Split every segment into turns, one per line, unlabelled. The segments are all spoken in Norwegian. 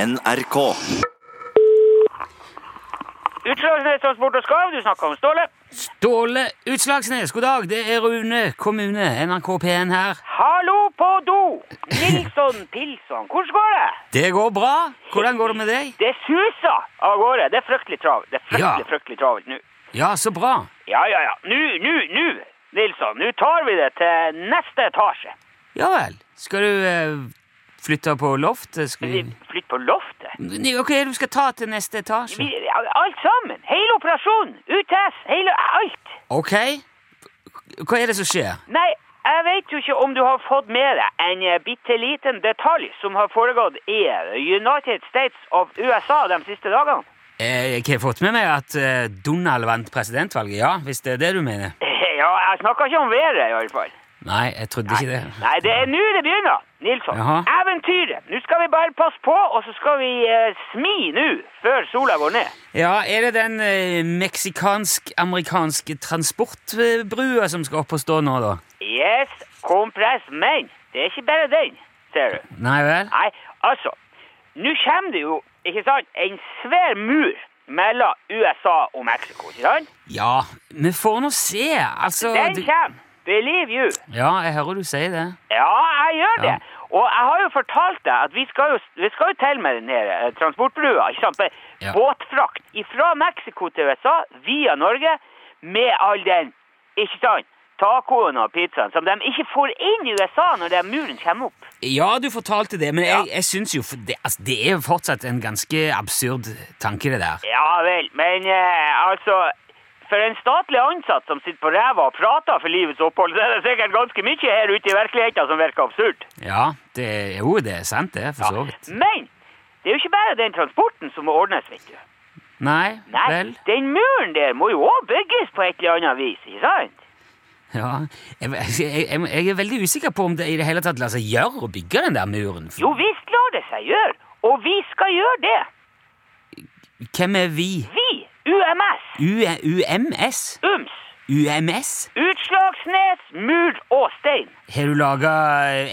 NRK.
Utslagsnes Transport og Skarv, du snakker om Ståle.
Ståle Utslagsnes, god dag. Det er Rune kommune, NRK P1 her.
Hallo på do! Nilsson Pilsson, hvordan går det?
Det går bra. Hvordan går det med deg?
Det suser av gårde. Det er fryktelig travelt. Det er fryktelig,
Ja.
fryktelig travelt nå.
Ja, så bra.
Ja, ja, ja. Nå, nå, nå, Nilsson. Nå tar vi det til neste etasje.
Ja vel. Skal du eh, flytte på loftet? Skal
Vi
vi...
flytter på loftet.
Nei, Hva er det du skal ta til neste
Vi,
etasje?
alt sammen. Hele operasjonen. UTS. Hele alt.
Ok. Hva er det som skjer?
Nei, jeg vet jo ikke om du har fått med deg en eh, bitte liten detalj som har foregått i eh, United States of USA de siste dagene.
Eh, Jeg har fått med meg at eh, Donald vant presidentvalget, ja, hvis det er det du mener.
Ja, jeg snakker ikke om været i alle fall.
Nei, jeg trodde ikke det.
Nei, det er nå det begynner, Nilsson.
Jaha.
Eventyret. Nå skal vi bare passe på, og så skal vi eh, smi nå, før sola går ned.
Ja, er det den eh, meksikansk-amerikanske transportbrua som skal opp og stå nå, da?
Yes, kompress, men det er ikke bare den, ser du.
Nei vel?
Nei, altså, nå kommer det jo, ikke sant, en svær mur mellom USA og Mexico, ikke sant?
Ja, vi får nå se. Altså
Den
du-
kommer. Believe you.
Ja, jeg hører du sier det.
Ja, jeg gjør det.
Ja.
Og jeg har jo fortalt deg at vi skal jo, vi skal jo til med den her eh, transportbrua. ikke sant?
Ja.
Båtfrakt fra Mexico til USA via Norge med all den ikke sant, tacoen og pizzaen som de ikke får inn i USA når den muren kommer opp.
Ja, du fortalte det, men
Ja.
jeg, jeg syns jo for det, altså, det er jo fortsatt en ganske absurd tanke, det der.
Ja vel, men eh, altså For en statlig ansatt som sitter på ræva og prater for livets opphold, så er det sikkert ganske mye her ute i virkeligheten som virker absurd.
Ja, det er jo det er sant, det, for så vidt.
Men det er jo ikke bare den transporten som må ordnes, vet du.
Nei,
Nei,
vel
den muren der må jo òg bygges på et eller annet vis, ikke sant?
Ja. Jeg, jeg, jeg, jeg er veldig usikker på om det i det hele tatt lar seg gjøre å bygge den der muren.
Jo visst lar det seg gjøre, og vi skal gjøre det.
Hvem er vi?
Vi, UMS,
U UMS?
UMS,
UMS?
Utslagsnes, Mur og Stein.
Har du laga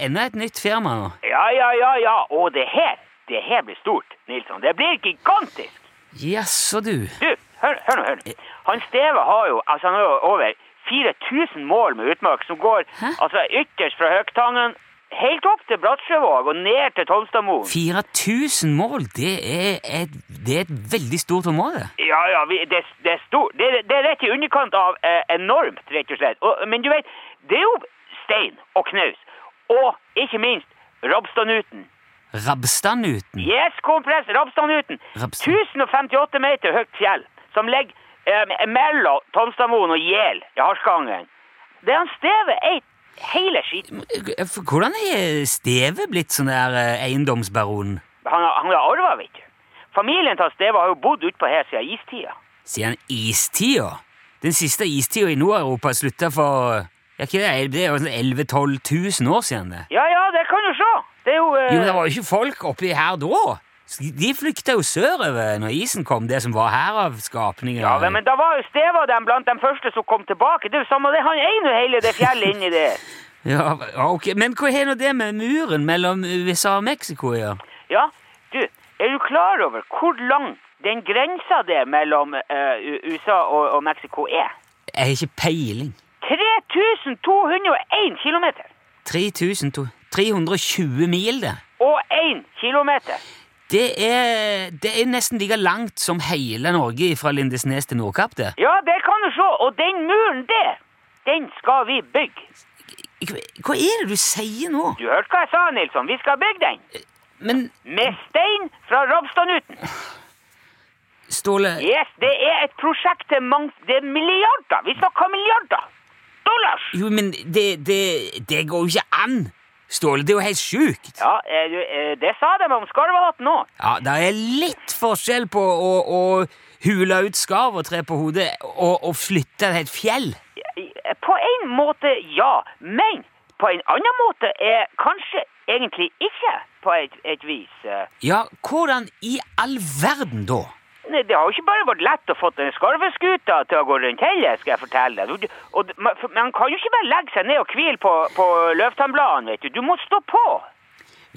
enda et nytt firma nå?
Ja, ja, ja, ja, og det her, det her blir stort, Nilsson. Det blir gigantisk.
Jaså, du.
Du, hør, hør nå, hør nå. Han Steve har jo, altså han har jo over 4000 mål med utmark som går
Hæ?
altså ytterst fra Høgtangen helt opp til Bratsjøvåg og ned til Tonstadmoen.
4000 mål, det er, et, det er et veldig stort område.
Ja, ja, vi, det, det er stort. Det, det er rett i underkant av eh, enormt, rett og slett. Og, men du vet, det er jo stein og knaus. Og ikke minst Rabstadnuten.
Rabstadnuten.
Yes, kompress, Rabstadnuten.
Rabstad.
1058 meter høyt fjell som ligger eh, mellom Tonstadmoen og Gjel i Harskangen. Det han Steve eit hele skiten.
For Hvordan er Steve blitt sånn der eh, eiendomsbaron?
Han, har- han har arva, vet du. Familien til Steve har jo bodd utpå her siden istida.
Siden istida? Den siste istida i Nord-Europa slutta for ja, ikke det, det er jo sånn 11 000-12 000 år siden. det.
Ja, ja, det kan du se. Det er jo, eh,
Jo, men det var jo ikke folk oppi her da. De flykta jo sørover når isen kom, det som var her av skapninger.
Ja, vel, men da var jo Steva dem blant de første som kom tilbake. Det er jo samme det, han eier jo hele det fjellet inni der.
Ja, ok. Men hva har nå det med muren mellom USA og Mexico å gjøre?
Ja, du, er du klar over hvor lang den grensa der mellom eh, U- USA og, og Mexico er?
Jeg har ikke peiling.
3201 kilometer!
3200 320 mil, det.
Og én kilometer!
Det er, det er nesten like langt som hele Norge fra Lindesnes til Nordkapp. det.
Ja, det kan du se! Og den muren der, den skal vi bygge.
Hva hva er det du sier nå?
Du hørte hva jeg sa, Nilsson. Vi skal bygge den.
Men
Med stein fra Robstadnuten.
Ståle,
Yes, det er et prosjekt til mange Det er milliarder! Vi snakker milliarder! Dollars!
jo, men det, det, det går jo ikke an! Ståle, det er jo helt sjukt!
Ja, eh, du, eh, det sa de om skarvehatten òg.
Ja, Det er litt forskjell på å, å hule ut skarv og tre på hodet og, og flytte et helt fjell.
På en måte ja, men på en annen måte er kanskje egentlig ikke på et, et vis. eh.
Ja, hvordan i all verden da?
Nei, Det har jo ikke bare vært lett å få den skarveskuta til å gå rundt heller, skal jeg fortelle deg. Du- Og, d- man, for man kan jo ikke bare legge seg ned og hvile på, på løvtannbladene, vet du. Du må stå på.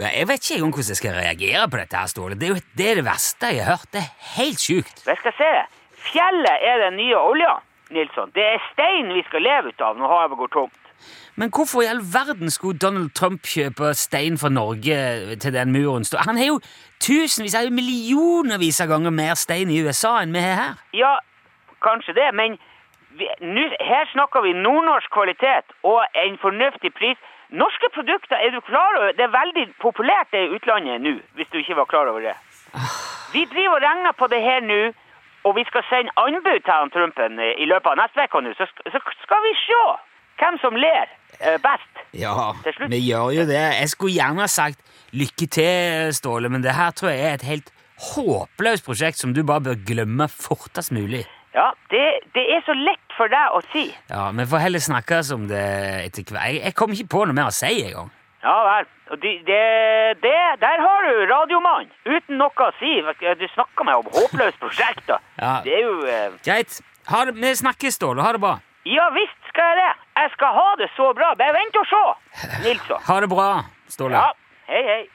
Nei, Jeg vet ikke engang hvordan jeg skal reagere på dette, her, Ståle. Det er jo det, er det verste jeg har hørt. Det er helt sjukt.
Jeg skal se. Fjellet er den nye olja, Nilsson. Det er stein vi skal leve ut av når havet går tomt.
Men hvorfor i all verden skulle Donald Trump kjøpe stein fra Norge til den muren? står- Han har jo tusenvis, han har jo millionervis av ganger mer stein i USA enn vi har her.
Ja, kanskje det, men vi, nu, her snakker vi nordnorsk kvalitet og en fornuftig pris. Norske produkter, er du klar over? Det er veldig populært det i utlandet nå, hvis du ikke var klar over det. Vi driver og regner på det her nå, og vi skal sende anbud til han Trumpen eh, i løpet av neste uke nå, så, sk- så skal vi se hvem som ler eh, best.
Ja,
Til slutt.
vi gjør jo det. Jeg skulle gjerne ha sagt lykke til, Ståle, men det her tror jeg er et helt håpløst prosjekt som du bare bør glemme fortest mulig.
Ja, det, det er så lett for deg å si.
Ja, Vi får heller snakkes om det etter hvert. Jeg, jeg kom ikke på noe mer å si engang.
Ja vel. Og de, det, det, der har du radiomannen! Uten noe å si. Du snakker meg om håpløst prosjekt, da.
Ja.
Det er jo eh,
Greit. Ha det, vi snakkes, Ståle. Ha det bra.
Ja visst skal jeg det! Jeg skal ha det så bra. Bare vent og se, Nilsson.
Ha det bra, Ståle.
Ja. Hei, hei.